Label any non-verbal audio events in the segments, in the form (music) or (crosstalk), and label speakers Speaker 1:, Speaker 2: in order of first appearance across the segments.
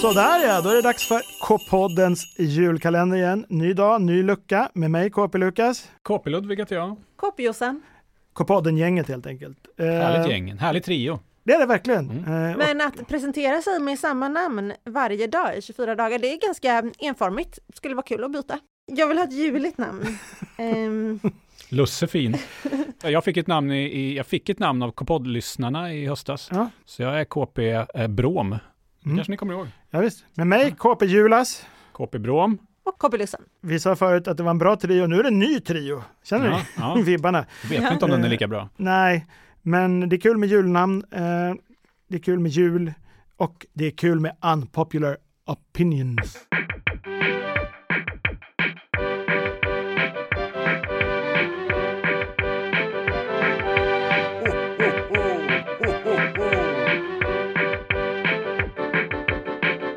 Speaker 1: Sådär ja, då är det dags för K-poddens julkalender igen. Ny dag, ny lucka med mig KP-Lukas.
Speaker 2: KP-Ludvig heter jag.
Speaker 3: Kopiosen.
Speaker 1: K-podden-gänget helt enkelt. Eh,
Speaker 2: Härligt gäng. Mm. En härlig trio.
Speaker 1: Det är det verkligen. Eh, och
Speaker 3: Men att presentera sig med samma namn varje dag i 24 dagar, det är ganska enformigt. Skulle vara kul att byta. Jag vill ha ett
Speaker 2: (laughs)
Speaker 3: juligt namn. Ehm,
Speaker 1: (laughs)
Speaker 2: Lussefin. Jag fick ett namn, i, i, jag fick ett namn av K-podd-lyssnarna i höstas.
Speaker 1: Ja.
Speaker 2: Så jag är KP eh, Bråm. Det
Speaker 1: Mm.
Speaker 2: kanske ni kommer ihåg.
Speaker 1: Ja, visst. Med
Speaker 2: Mm.
Speaker 1: mig KP-Julas.
Speaker 2: KP Bråm.
Speaker 3: och kopilussen.
Speaker 1: Vi sa förut att det var en bra trio, nu är det en ny trio. Känner
Speaker 2: Ja, ja.
Speaker 1: ni (laughs) vibbarna?
Speaker 2: Jag vet inte om den är lika bra.
Speaker 1: Nej, men det är kul med julnamn, eh, det är kul med jul och det är kul med unpopular opinions.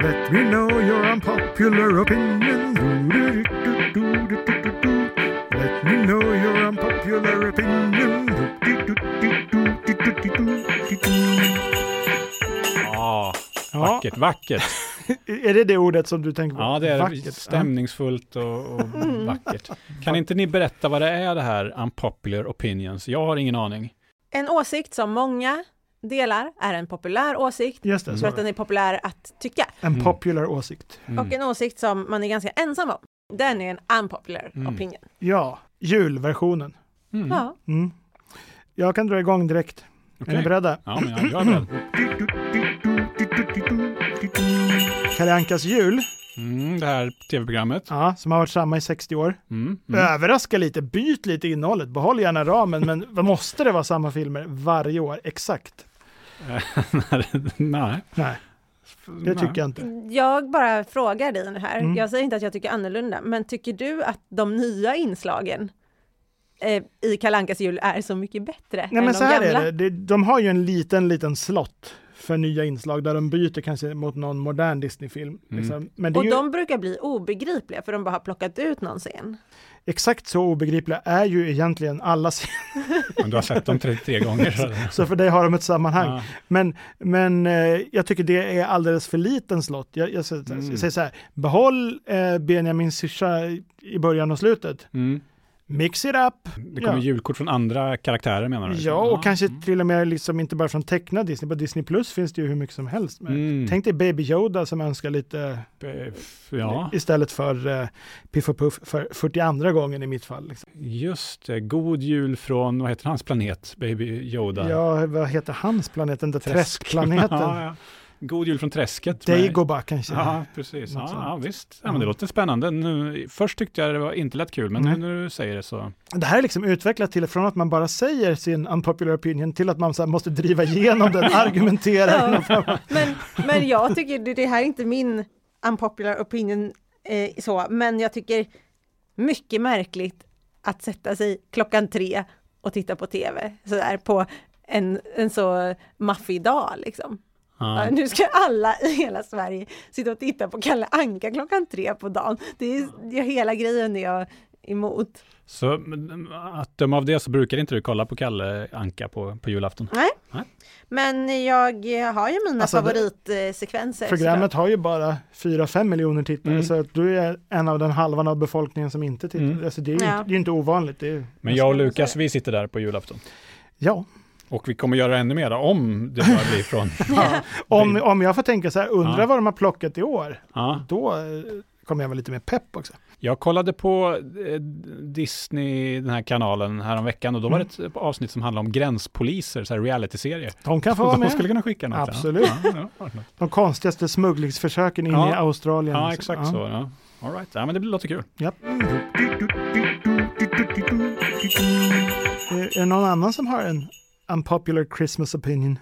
Speaker 1: Let me know your unpopular opinion. Do-do-do-do-do-do-do-do. Let me know your unpopular opinion. Do-do-do-do-do-do-do-do-do-do.
Speaker 2: Ja,
Speaker 1: Ja,
Speaker 2: Ah, vackert, vackert.
Speaker 1: är det det ordet som du tänker på?
Speaker 2: Ja, det är
Speaker 1: Vackert.
Speaker 2: stämningsfullt
Speaker 1: (laughs)
Speaker 2: och, och vackert. Kan inte ni berätta vad det är det här unpopular opinions? Jag har ingen aning.
Speaker 3: En åsikt som många delar är en populär åsikt
Speaker 1: Ja, Just det,
Speaker 3: för
Speaker 1: så.
Speaker 3: att den är populär att tycka.
Speaker 1: En popular åsikt.
Speaker 2: Mm.
Speaker 3: Och en åsikt som man är ganska ensam om. Den är en unpopular
Speaker 2: Mm.
Speaker 3: opinion.
Speaker 1: Ja, julversionen.
Speaker 2: Mm.
Speaker 3: Ja.
Speaker 1: Mm. Jag kan dra igång direkt. Är
Speaker 2: Okej.
Speaker 1: ni beredda?
Speaker 2: Ja, men jag, jag är beredd.
Speaker 1: Kalle Ankas jul,
Speaker 2: Mm, det här tv-programmet.
Speaker 1: ja, som har varit samma i 60 år.
Speaker 2: Mm, mm.
Speaker 1: Överraska lite, byt lite innehållet, behåll gärna ramen, men vad måste det vara samma filmer varje år exakt?
Speaker 2: (laughs) Nej.
Speaker 1: Nej, det
Speaker 2: Nej.
Speaker 1: tycker jag
Speaker 3: Mm.
Speaker 1: inte.
Speaker 3: Jag bara frågar dig nu här.
Speaker 1: Mm.
Speaker 3: Jag säger inte att jag tycker annorlunda, men tycker du att de nya inslagen eh, i Kalle Ankas jul är så mycket bättre
Speaker 1: Nej,
Speaker 3: än
Speaker 1: men
Speaker 3: de
Speaker 1: så här
Speaker 3: gamla?
Speaker 1: är det. det. De har ju en liten, liten slott för nya inslag där de byter kanske mot någon modern Disney-film.
Speaker 2: Mm.
Speaker 1: Liksom. Men det är
Speaker 3: Och
Speaker 1: ju,
Speaker 3: de brukar bli obegripliga för de bara har plockat ut någon scen.
Speaker 1: exakt så obegripliga är ju egentligen alla serier,
Speaker 2: Men du har sett dem 33 gånger.
Speaker 1: (laughs)
Speaker 2: så-
Speaker 1: så för dig har de ett sammanhang.
Speaker 2: Ja.
Speaker 1: Men, men eh, jag tycker det är alldeles för liten slott. Jag, jag, säger-
Speaker 2: Mm.
Speaker 1: jag säger så här, behåll eh, Benjamin Syrsa i början och slutet.
Speaker 2: Mm.
Speaker 1: Mix it up!
Speaker 2: Det kommer
Speaker 1: Ja.
Speaker 2: julkort från andra karaktärer menar du?
Speaker 1: Ja, och kanske
Speaker 2: Mm.
Speaker 1: till och med liksom inte bara från tecknad Disney, på Disney Plus finns det ju hur mycket som helst. Men
Speaker 2: Mm.
Speaker 1: Tänk dig Baby Yoda som önskar lite
Speaker 2: Eh, f- Ja,
Speaker 1: istället för eh, Piff och Puff för 42 gången i mitt fall. Liksom.
Speaker 2: just det. God jul från, vad heter hans planet? Baby Yoda.
Speaker 1: Ja, vad heter hans planet? Den där
Speaker 2: Träsk. (laughs) Ja,
Speaker 1: träskplaneten?
Speaker 2: ja. God jul från träsket. med-
Speaker 1: Dagobah kanske?
Speaker 2: Ja, precis.
Speaker 1: Något
Speaker 2: Ja,
Speaker 1: sånt.
Speaker 2: ja, visst. Ja,
Speaker 1: Ja.
Speaker 2: men det låter spännande. Nu, först tyckte jag det var inte lät kul, men
Speaker 1: Nej.
Speaker 2: nu när du säger det så.
Speaker 1: Det här är liksom utvecklat till från att man bara säger sin unpopular opinion till att man så här måste driva igenom
Speaker 2: (laughs)
Speaker 1: den, argumentera.
Speaker 3: Ja. men,
Speaker 1: (laughs)
Speaker 3: men jag tycker, det- det här är inte min unpopular opinion eh, så, men jag tycker mycket märkligt att sätta sig klockan tre och titta på tv sådär på en, en så maffig dag liksom.
Speaker 2: Ja.
Speaker 3: Ja, Nu ska alla i hela Sverige sitta och titta på Kalle Anka klockan tre på dagen. Det är, det är hela grejen är jag emot.
Speaker 2: Så men, att döma av det så brukar inte du kolla på Kalle Anka på, på julafton?
Speaker 3: Nej.
Speaker 2: Nej.
Speaker 3: Men jag eh, har ju mina
Speaker 1: Alltså, det-
Speaker 3: favoritsekvenser.
Speaker 1: Programmet har ju bara 4-5 miljoner tittare,
Speaker 2: Mm.
Speaker 1: så att du är en av den halvan av befolkningen som inte tittar.
Speaker 2: Mm.
Speaker 1: Alltså, det är ju
Speaker 3: Ja.
Speaker 1: inte, det är ju inte ovanligt. Det är,
Speaker 2: Men jag och Lukas, vi sitter där på julafton.
Speaker 1: ja.
Speaker 2: Och vi kommer göra ännu mer om det börjar bli från...
Speaker 1: (laughs) Om, om jag får tänka så här, undra
Speaker 2: Ja.
Speaker 1: vad de har plockat i år,
Speaker 2: Ja.
Speaker 1: då eh, kommer jag vara lite mer pepp också.
Speaker 2: Jag kollade på eh, Disney, den här kanalen, häromveckan och då var det ett avsnitt som handlade om gränspoliser, så här realityserie.
Speaker 1: De kan få vara
Speaker 2: De
Speaker 1: med.
Speaker 2: skulle kunna skicka något. ja.
Speaker 1: Absolut.
Speaker 2: Ja, ja, ja.
Speaker 1: De konstigaste smugglingsförsöken in
Speaker 2: Ja.
Speaker 1: i Australien.
Speaker 2: ja
Speaker 1: liksom.
Speaker 2: exakt så. Ja. All right. ja, men det låter kul.
Speaker 1: Ja. Eh, Är det någon annan som har en unpopular Christmas opinion?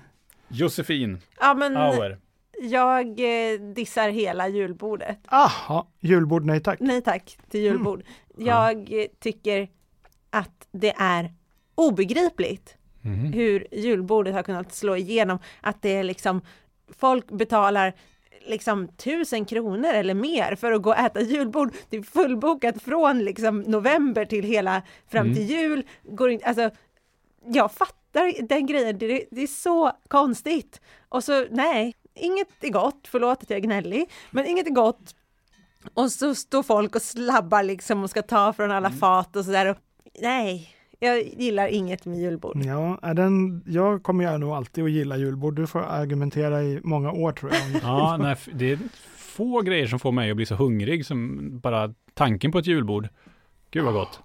Speaker 2: Josefin
Speaker 3: Ja, men
Speaker 2: Auer.
Speaker 3: jag eh, dissar hela julbordet.
Speaker 1: Aha, julbord, nej tack.
Speaker 3: Nej tack till julbord. Jag eh, tycker att det är obegripligt
Speaker 2: Mhm.
Speaker 3: hur julbordet har kunnat slå igenom. Att det är liksom, folk betalar liksom tusen kronor eller mer för att gå och äta julbord. Det är fullbokat från liksom november till hela fram till jul. Går in, alltså, jag fattar den grejen, det, det är så konstigt. Och så nej, inget är gott, förlåt att jag är gnällig, men inget är gott. Och så står folk och slabbar liksom och ska ta från alla fat och sådär. och- Nej, jag gillar inget med julbord.
Speaker 1: Ja, är den, jag kommer ju nog alltid att gilla julbord. Du får argumentera i många år tror jag.
Speaker 2: Ja, nej, f- det är få grejer som får mig att bli så hungrig som bara tanken på ett julbord. Gud vad gott.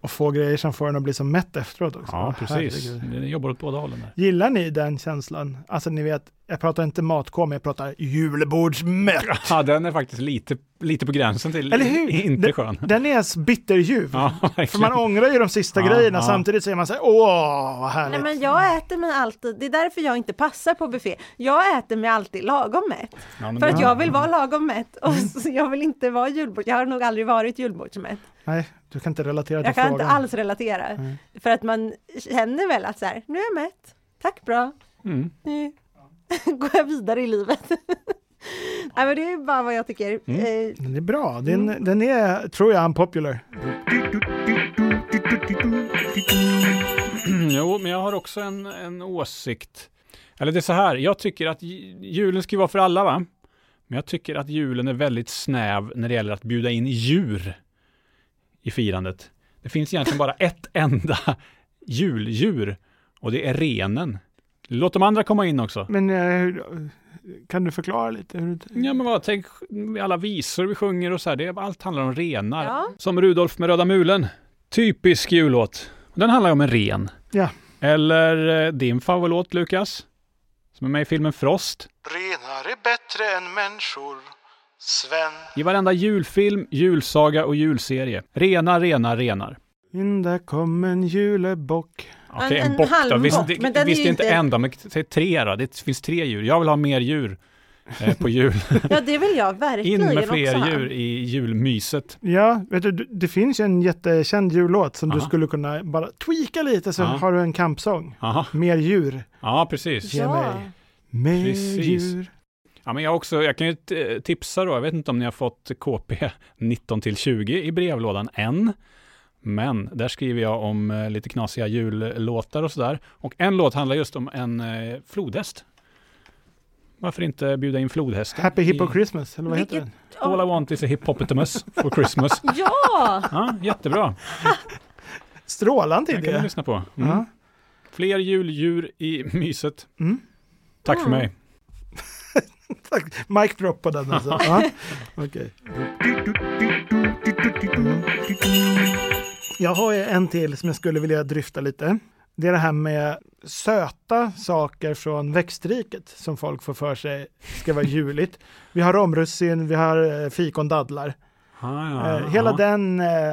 Speaker 1: Och få grejer som får en att bli så mätt efteråt också.
Speaker 2: Ja, precis.
Speaker 1: Herregud.
Speaker 2: Det jobbar åt båda hållen där.
Speaker 1: Gillar ni den känslan? Alltså ni vet, jag pratar inte matkom, jag pratar julbordsmätt.
Speaker 2: Ja, den är faktiskt lite, lite på gränsen till
Speaker 1: Eller hur?
Speaker 2: inte
Speaker 1: Det-
Speaker 2: skön.
Speaker 1: Den är s- bitterljuv.
Speaker 2: (laughs) Ja,
Speaker 1: För
Speaker 2: verkligen.
Speaker 1: man ångrar ju de sista
Speaker 2: Ja,
Speaker 1: grejerna,
Speaker 2: ja.
Speaker 1: samtidigt säger man så här, åh vad härligt.
Speaker 3: Nej men jag äter mig alltid, det är därför jag inte passar på buffé. Jag äter mig alltid lagom mätt.
Speaker 2: Ja, men
Speaker 3: För
Speaker 2: det-
Speaker 3: att jag vill vara lagom mätt och så jag vill inte vara julbord. Jag har nog aldrig varit julbordsmätt.
Speaker 1: Nej, du kan inte relatera till
Speaker 3: Jag kan
Speaker 1: frågan.
Speaker 3: inte alls relatera.
Speaker 1: Nej.
Speaker 3: För att man känner väl att så här, nu är jag mätt, tack bra,
Speaker 2: Mm. (clears throat)
Speaker 3: nu (laughs) går jag vidare i livet. (laughs) Nej men det är bara vad jag tycker.
Speaker 1: Mm.
Speaker 3: Eh,
Speaker 1: Men Det är bra, den,
Speaker 3: Mm.
Speaker 1: den är, tror jag, unpopular.
Speaker 2: Jo, men jag har också en, en åsikt. Eller det är så här, jag tycker att ju- julen ska ju vara för alla va? Men jag tycker att julen är väldigt snäv när det gäller att bjuda in djur i firandet. Det finns egentligen bara ett (laughs) enda juldjur och det är renen. Låt de andra komma in också.
Speaker 1: Men eh, hur- kan du förklara lite? Hur, du-
Speaker 2: Ja men vad, tänk alla visor vi sjunger och så här, det, är- allt handlar om renar.
Speaker 3: Ja.
Speaker 2: Som Rudolf med röda mulen, typisk jullåt. Den handlar ju om en ren.
Speaker 1: Ja.
Speaker 2: Eller eh, din favoritlåt Lukas, som är med i filmen Frost.
Speaker 4: Renar är bättre än människor. Sven.
Speaker 2: I varenda julfilm, julsaga och julserie. Renar, renar, renar.
Speaker 1: In där kom en julebock.
Speaker 2: Okej,
Speaker 3: En-
Speaker 2: en,
Speaker 3: en
Speaker 2: bock då.
Speaker 3: halvbock,
Speaker 2: Visst, det,
Speaker 3: men den är
Speaker 2: visst
Speaker 3: ju
Speaker 2: det är inte
Speaker 3: inte-
Speaker 2: en då, men säg tre då. Det finns tre djur. Jag vill ha mer djur eh, på jul.
Speaker 3: ja det vill jag verkligen
Speaker 2: In med
Speaker 3: också ha.
Speaker 2: fler djur i julmyset.
Speaker 1: Ja, vet du, du- det finns ju en jättekänd jullåt som du
Speaker 2: Aha.
Speaker 1: skulle kunna bara tweaka lite så
Speaker 2: Ja.
Speaker 1: har du en kampsång.
Speaker 2: Aha.
Speaker 1: Mer djur.
Speaker 2: Ja, precis.
Speaker 1: Ge
Speaker 3: Ja.
Speaker 1: mig. Mer
Speaker 2: Precis.
Speaker 1: djur.
Speaker 2: Ja, men jag, också, jag kan ju t- tipsa då, jag vet inte om ni har fått KP 19 till 20 i brevlådan än. Men där skriver jag om eh, lite knasiga jullåtar och sådär. Och en låt handlar just om en eh, flodhäst. Varför inte bjuda in flodhästen?
Speaker 1: Happy Hippo
Speaker 2: i
Speaker 1: Christmas, eller vad heter
Speaker 3: Vilket-
Speaker 1: den?
Speaker 2: All I want is a hippopotamus for Christmas.
Speaker 3: Ja!
Speaker 2: Ja, jättebra.
Speaker 1: Strålande
Speaker 2: Det kan ni
Speaker 1: idé.
Speaker 2: lyssna på. Mm.
Speaker 1: Ja.
Speaker 2: Fler juldjur i myset.
Speaker 1: Mm.
Speaker 2: Tack för
Speaker 3: Mm.
Speaker 2: mig.
Speaker 1: Tack. Mic drop på den alltså.
Speaker 2: (laughs)
Speaker 1: ja. Okej. Jag har ju en till som jag skulle vilja dryfta lite. Det är det här med söta saker från växtriket som folk får för sig ska vara juligt. Vi har romrussin, vi har eh, fikondadlar.
Speaker 2: Ah, ja,
Speaker 1: Eh, hela
Speaker 2: ja.
Speaker 1: den eh,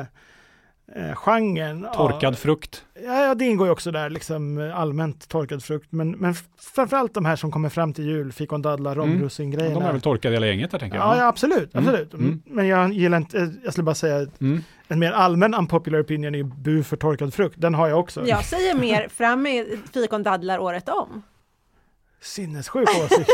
Speaker 1: eh, genren. av-
Speaker 2: Torkad frukt.
Speaker 1: Ja, ja, det ingår ju också där, liksom eh, allmänt torkad frukt. Men, men f- framförallt de här som kommer fram till jul, fikondadlar,
Speaker 2: Mm.
Speaker 1: romrussingrejerna.
Speaker 2: De är väl torkade hela gänget, här, tänker jag.
Speaker 1: Ja, ja, absolut.
Speaker 2: Mm,
Speaker 1: absolut.
Speaker 2: mm.
Speaker 1: Men jag gillar inte, eh, jag skulle bara säga, att
Speaker 2: Mm.
Speaker 1: en mer allmän unpopular opinion är ju bu för torkad frukt. Den har jag också.
Speaker 3: Jag säger mer, fram med fikondadlar året om.
Speaker 1: Sinnessjuk åsikt.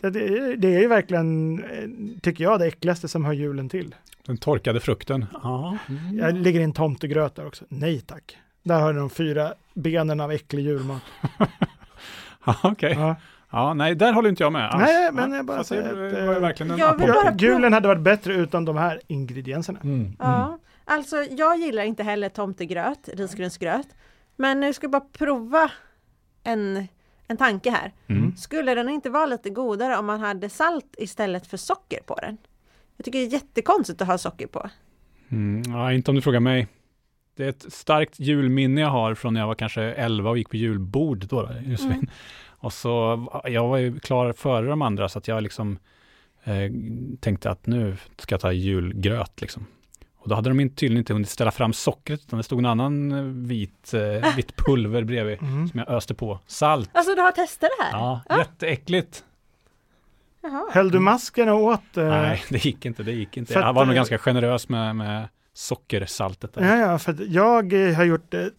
Speaker 1: det, det är- det är ju verkligen, eh, tycker jag, det äckligaste som hör julen till.
Speaker 2: Den torkade frukten. Ja.
Speaker 1: Jag lägger in tomtegröt där också. Nej tack. Där har du de fyra benen av äcklig julmat.
Speaker 2: Ja, Okej.
Speaker 1: Ja.
Speaker 2: Ja, nej, där håller inte jag med. alls.
Speaker 1: Nej, men jag bara
Speaker 2: fast
Speaker 1: säger
Speaker 2: det
Speaker 1: att,
Speaker 2: var ju
Speaker 1: eh,
Speaker 2: verkligen en
Speaker 3: jag vill
Speaker 2: apoptys.
Speaker 3: bara-
Speaker 1: Ja, julen hade varit bättre utan de här ingredienserna.
Speaker 2: Mm.
Speaker 3: Ja, alltså jag gillar inte heller tomtegröt, risgrynsgröt. Men nu ska jag bara prova en, en tanke här.
Speaker 2: Mm.
Speaker 3: Skulle den inte vara lite godare om man hade salt istället för socker på den? Jag tycker det är jättekonstigt att ha socker på.
Speaker 2: Mm. Ja, inte om du frågar mig. Det är ett starkt julminne jag har från när jag var kanske 11 och gick på julbord då. då just
Speaker 3: Mm.
Speaker 2: vid- Och så, jag var ju klar före de andra så att jag liksom eh, tänkte att nu ska jag ta julgröt liksom. Och då hade de inte- tydligen inte hunnit ställa fram sockret utan det stod en annan eh, vit, eh, vitt pulver bredvid
Speaker 1: Mm.
Speaker 2: som jag öste på. Salt.
Speaker 3: Alltså du har testat det här?
Speaker 2: Ja, jätteäckligt.
Speaker 3: Jaha.
Speaker 1: Höll du masken åt? eh,
Speaker 2: Nej, det gick inte. Det gick inte.
Speaker 1: För
Speaker 2: Jag
Speaker 1: att- eh,
Speaker 2: var nog ganska generös med, med sockersaltet. Där.
Speaker 1: Ja, ja, för att jag eh, har gjort det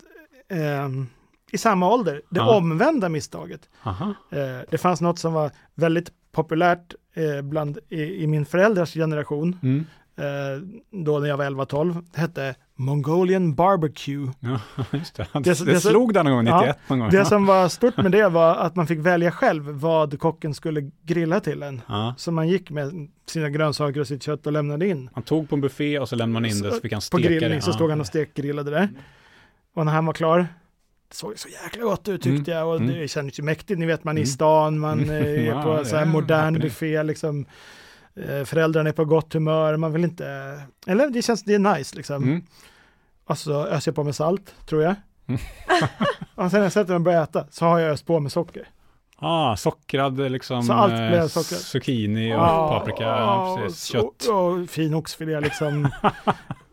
Speaker 1: ehm, i samma ålder, det
Speaker 2: Ja.
Speaker 1: omvända misstaget.
Speaker 2: Aha.
Speaker 1: Eh, det fanns något som var väldigt populärt eh, bland, i, i min föräldrars generation,
Speaker 2: Mm. (laughs)
Speaker 1: eh, då när jag var 11-12, det hette Mongolian barbecue.
Speaker 2: Ja, just det.
Speaker 1: Det-
Speaker 2: Det,
Speaker 1: det-
Speaker 2: slog där någon gång,
Speaker 1: Ja,
Speaker 2: 91 någon gång.
Speaker 1: Det som var stort med det var att man fick välja själv vad kocken skulle grilla till en.
Speaker 2: ja.
Speaker 1: Så man gick med sina grönsaker och sitt kött och lämnade in.
Speaker 2: Han tog på en buffé och så lämnade man in det så fick han
Speaker 1: På
Speaker 2: steka
Speaker 1: grillning
Speaker 2: det.
Speaker 1: så
Speaker 2: Ja.
Speaker 1: stod han och stekgrillade det.
Speaker 3: Mm.
Speaker 1: Och när han var klar, det såg så jäkla gott ut tyckte jag och
Speaker 2: Mm.
Speaker 1: det kändes ju mäktigt. Ni vet man är i
Speaker 2: Mm.
Speaker 1: stan, man
Speaker 2: Mm.
Speaker 1: eh, är
Speaker 2: (laughs) Ja,
Speaker 1: på
Speaker 2: det
Speaker 1: så här
Speaker 2: är
Speaker 1: modern
Speaker 2: happening.
Speaker 1: buffé liksom. Eh, Föräldrarna är på gott humör, man vill inte, eller det känns, det är nice liksom.
Speaker 2: Mm.
Speaker 1: Och så öser jag på med salt, tror jag.
Speaker 2: Mm.
Speaker 1: (laughs) och sen när jag sätter mig och börjar äta så har jag öst på med socker.
Speaker 2: Ah, sockrad liksom,
Speaker 1: Så allt
Speaker 2: eh,
Speaker 1: blev sockrat.
Speaker 2: zucchini och
Speaker 1: Ah,
Speaker 2: paprika,
Speaker 1: och-
Speaker 2: ja, precis. kött.
Speaker 1: Och, och fin oxfilé
Speaker 2: (laughs)
Speaker 1: liksom.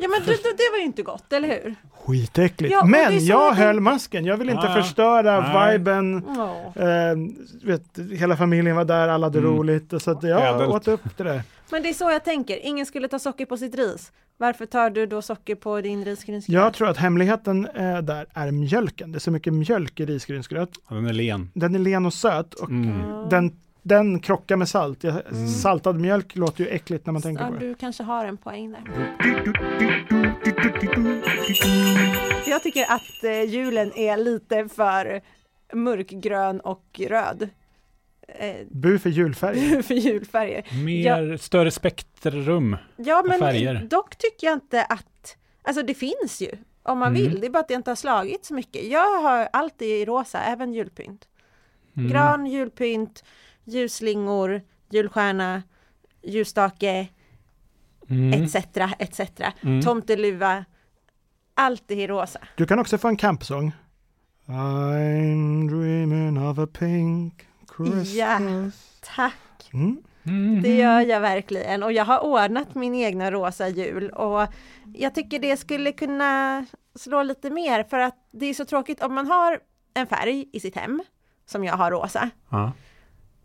Speaker 3: Ja men det, det, det var ju inte gott, eller hur?
Speaker 1: Skitäckligt.
Speaker 3: Ja, och det är
Speaker 1: Men
Speaker 3: så
Speaker 1: jag
Speaker 3: jag tänkte-
Speaker 1: höll masken, jag ville inte
Speaker 2: Ah,
Speaker 1: förstöra
Speaker 2: nej.
Speaker 1: viben.
Speaker 3: Ja.
Speaker 1: Eh, vet, hela familjen var där, alla hade
Speaker 2: Mm.
Speaker 1: roligt. Så att jag
Speaker 2: Ädelt.
Speaker 1: åt upp det där.
Speaker 3: Men det är så jag tänker, ingen skulle ta socker på sitt ris. Varför tar du då socker på din risgrynsgröt?
Speaker 1: Jag tror att hemligheten eh, där är mjölken. Det är så mycket mjölk i risgrynsgröt.
Speaker 2: Ja, den är len.
Speaker 1: Den är len och söt och
Speaker 2: Mm.
Speaker 1: den, den krockar med salt. Jag, Saltad mjölk låter ju äckligt när man tänker
Speaker 3: ja,
Speaker 1: på det.
Speaker 3: du kanske har en poäng där. Jag tycker att eh, julen är lite för mörkgrön och röd. Eh,
Speaker 1: Bu för julfärg.
Speaker 3: (laughs) för julfärger.
Speaker 2: Mer, större spektrum.
Speaker 3: Ja, men
Speaker 2: färger.
Speaker 3: dock tycker jag inte att, alltså det finns ju om man
Speaker 2: Mm.
Speaker 3: vill, det är bara att det inte har slagit så mycket. Jag har alltid i rosa, även julpynt.
Speaker 2: Mm.
Speaker 3: Gran, julpynt, ljusslingor, julstjärna, ljusstake,
Speaker 2: Mm.
Speaker 3: etc. etc.
Speaker 2: Mm.
Speaker 3: Tomteluva, allt i rosa.
Speaker 1: Du kan också få en campsång. I'm dreaming of a pink Christmas.
Speaker 3: Ja. Tack,
Speaker 1: Mm.
Speaker 2: Mm.
Speaker 3: det gör jag verkligen. Och jag har ordnat min egna rosa jul och jag tycker det skulle kunna slå lite mer för att det är så tråkigt om man har en färg i sitt hem, som jag har rosa.
Speaker 2: Ja.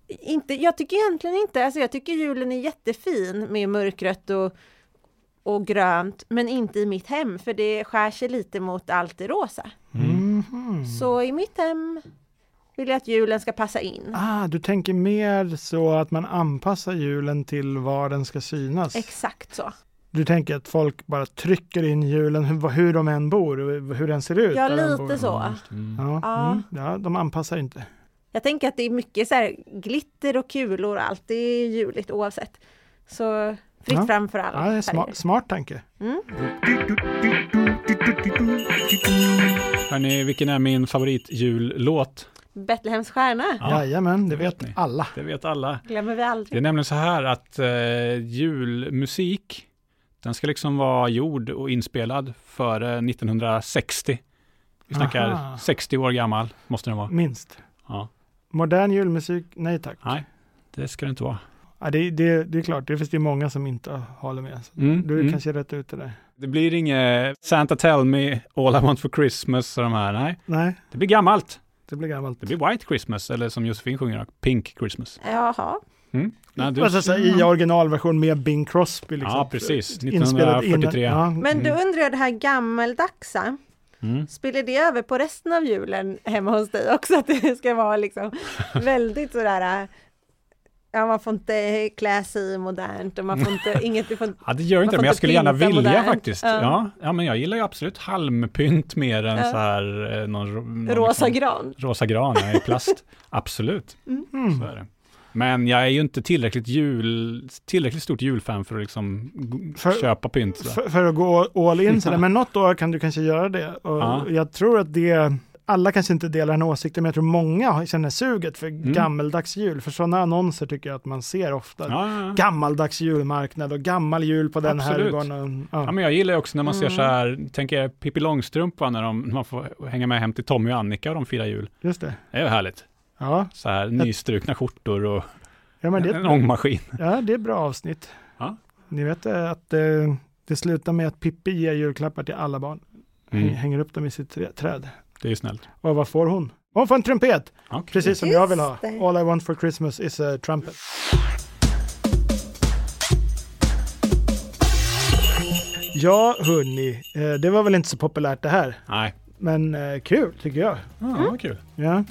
Speaker 3: Inte, jag tycker egentligen inte, alltså jag tycker julen är jättefin med mörkrött och, och grönt, men inte i mitt hem för det skär sig lite mot allt det rosa.
Speaker 2: Mm.
Speaker 1: Mhm.
Speaker 3: Så i mitt hem vill jag att julen ska passa in.
Speaker 1: Ah, du tänker mer så att man anpassar julen till var den ska synas.
Speaker 3: Exakt så.
Speaker 1: Du tänker att folk bara trycker in julen hur, hur de än bor, hur den ser ut.
Speaker 3: Ja,
Speaker 1: där de
Speaker 3: lite
Speaker 1: bor.
Speaker 3: så.
Speaker 2: Mm.
Speaker 1: Ja,
Speaker 3: Ja.
Speaker 1: Mm. ja, de anpassar inte.
Speaker 3: Jag tänker att det är mycket så här glitter och kulor och allt, det är juligt oavsett. Så fritt
Speaker 1: Ja.
Speaker 3: fram för alla
Speaker 1: Ja, det är sma-
Speaker 3: färger.
Speaker 1: smart tanke.
Speaker 3: Mm.
Speaker 2: Hörrni, vilken är min favoritjullåt?
Speaker 3: Betlehems stjärna
Speaker 2: Ja.
Speaker 1: Jajamän, det
Speaker 2: det vet
Speaker 1: vet
Speaker 2: ni.
Speaker 1: alla.
Speaker 2: Det vet alla.
Speaker 3: glömmer vi
Speaker 2: Det är
Speaker 3: aldrig.
Speaker 2: nämligen så här att eh, julmusik, den ska liksom vara gjord och inspelad före 1960. Vi snackar
Speaker 1: Aha.
Speaker 2: 60 år gammal, måste den vara.
Speaker 1: Minst.
Speaker 2: Ja.
Speaker 1: Modern julmusik, nej tack.
Speaker 2: Nej, det ska det inte vara.
Speaker 1: Ja, det, det, det är klart, det finns det många som inte håller med. Så
Speaker 2: Mm,
Speaker 1: Du är
Speaker 2: mm.
Speaker 1: kanske rätt ute där.
Speaker 2: Det blir inget Santa Tell Me, All I Want For Christmas och de här. Nej,
Speaker 1: Nej,
Speaker 2: det blir gammalt.
Speaker 1: det blir gammalt.
Speaker 2: Det blir White Christmas, eller som Josefin sjunger, Pink Christmas.
Speaker 3: Jaha,
Speaker 2: Mm. Nej, du-
Speaker 1: Alltså, så här, I originalversion med Bing Crosby. Liksom,
Speaker 2: Ja, precis.
Speaker 1: Inspelat innan-
Speaker 2: 1943.
Speaker 1: Ja, mm.
Speaker 3: men då undrar jag det här gammeldagsa,
Speaker 2: Mm.
Speaker 3: spiller det över på resten av julen hemma hos dig också? Att det ska
Speaker 1: (laughs)
Speaker 3: vara liksom väldigt sådär, äh, ja man får inte klä sig i modernt och man får inte, inget, du får inte
Speaker 2: Ja, det gör
Speaker 3: Man
Speaker 2: inte det,
Speaker 3: får
Speaker 2: men jag
Speaker 3: inte
Speaker 2: skulle gärna
Speaker 3: pynta
Speaker 2: vilja
Speaker 3: modernt.
Speaker 2: faktiskt.
Speaker 3: Ja.
Speaker 2: Ja. Ja, men jag gillar ju absolut halmpynt mer än
Speaker 3: Ja.
Speaker 2: så här eh, någon, ro- någon
Speaker 3: rosa
Speaker 2: liksom,
Speaker 3: gran.
Speaker 2: rosa gran ja, i plast.
Speaker 3: (laughs)
Speaker 2: absolut,
Speaker 1: Mm.
Speaker 2: så är det. Men jag är ju inte tillräckligt, jul, tillräckligt stort julfan för att liksom g-
Speaker 3: Mm.
Speaker 1: För-
Speaker 2: köpa pynt. Så.
Speaker 1: För, för att gå all in sådär, men något år kan du kanske göra det. Och
Speaker 2: Ja.
Speaker 1: Jag tror att det, alla kanske inte delar den åsikten, men jag tror många känner suget för
Speaker 2: Mm.
Speaker 1: gammeldags jul. För sådana annonser tycker jag att man ser ofta.
Speaker 2: Ja, ja, ja.
Speaker 1: Gammaldags julmarknad och gammal jul på den
Speaker 2: Absolut.
Speaker 1: här gården.
Speaker 2: ja,
Speaker 1: Ja.
Speaker 2: men jag gillar ju också när man ser
Speaker 3: Mm.
Speaker 2: så här, tänker jag Pippi Långstrump va, när, de, när man får hänga med hem till Tommy och Annika och de firar jul.
Speaker 1: Just det.
Speaker 2: Det är ju härligt.
Speaker 1: Ja,
Speaker 2: Så här nystrukna skjortor och
Speaker 1: ja, men
Speaker 2: en
Speaker 1: det,
Speaker 2: ångmaskin.
Speaker 1: ja, det är bra avsnitt.
Speaker 2: Ja.
Speaker 1: Ni vet eh, att eh, det slutar med att Pippi ger julklappar till alla barn. Häng-
Speaker 2: Mm,
Speaker 1: Hänger upp dem i sitt trä- träd.
Speaker 2: det är ju snällt.
Speaker 1: Och vad får hon? Hon får en trumpet!
Speaker 2: Ja,
Speaker 1: Precis som
Speaker 3: Just
Speaker 1: jag vill ha.
Speaker 3: det.
Speaker 1: All I want for Christmas is a trumpet. Ja, hörni, eh, det var väl inte så populärt det här,
Speaker 2: Nej,
Speaker 3: Mm.
Speaker 1: men eh, kul tycker jag.
Speaker 2: ja, vad kul.
Speaker 1: Ja.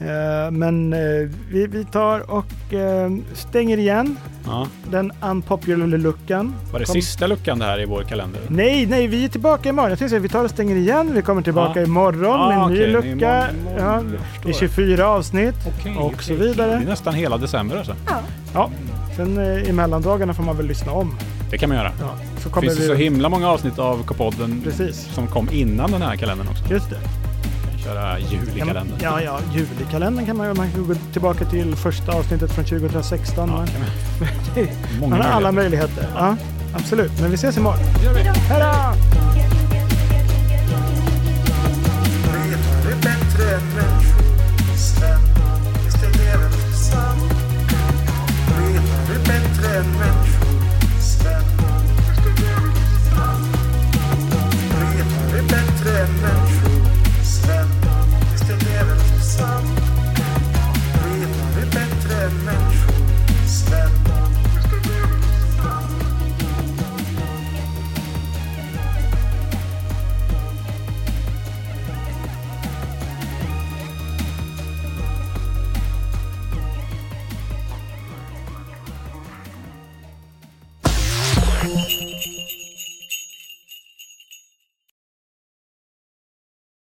Speaker 1: Eh, Men eh, vi, vi tar och eh, stänger igen
Speaker 2: Ja.
Speaker 1: den unpopular luckan.
Speaker 2: Var det
Speaker 1: Kom-
Speaker 2: sista luckan det här i vår kalender?
Speaker 1: Nej, nej, vi är tillbaka imorgon. Jag tänkte säga, vi tar och stänger igen. Vi kommer tillbaka
Speaker 2: Ja.
Speaker 1: imorgon med en
Speaker 2: Ah,
Speaker 1: ny
Speaker 2: okej,
Speaker 1: lucka.
Speaker 2: imorgon- imorgon,
Speaker 1: ja,
Speaker 2: jag förstår.
Speaker 1: det är 24 avsnitt
Speaker 2: Okej,
Speaker 1: och
Speaker 2: okej,
Speaker 1: så
Speaker 2: okej. Det
Speaker 1: vidare.
Speaker 2: är nästan hela december alltså.
Speaker 1: Ja, sen eh, i mellandagarna får man väl lyssna om.
Speaker 2: Det kan man göra.
Speaker 1: Ja, så
Speaker 2: Det
Speaker 1: kommer
Speaker 2: finns ju
Speaker 1: vi...
Speaker 2: så himla många avsnitt av K-podden
Speaker 1: Precis.
Speaker 2: som kom innan den här kalendern också.
Speaker 1: Just det.
Speaker 2: Köra jul i
Speaker 1: Kan man-
Speaker 2: kalendern.
Speaker 1: Ja, ja, julikalendern kan man ju. Man kan gå tillbaka till första avsnittet från 2016.
Speaker 2: Ja,
Speaker 1: Man-
Speaker 2: kan man- Många
Speaker 1: man har alla
Speaker 2: möjligheter.
Speaker 1: möjligheter. Ja, absolut. Men vi ses imorgon.
Speaker 2: Det gör vi.
Speaker 1: Hej då!
Speaker 5: Vetare är bättre än människor. Sven, visst är det väl sant? Vetare är bättre än människor. Sven, visst är det väl sant? Vetare är bättre än människor. Sven, visst är det väl sant? Vetare är bättre än människor. Sven, visst är det väl sant?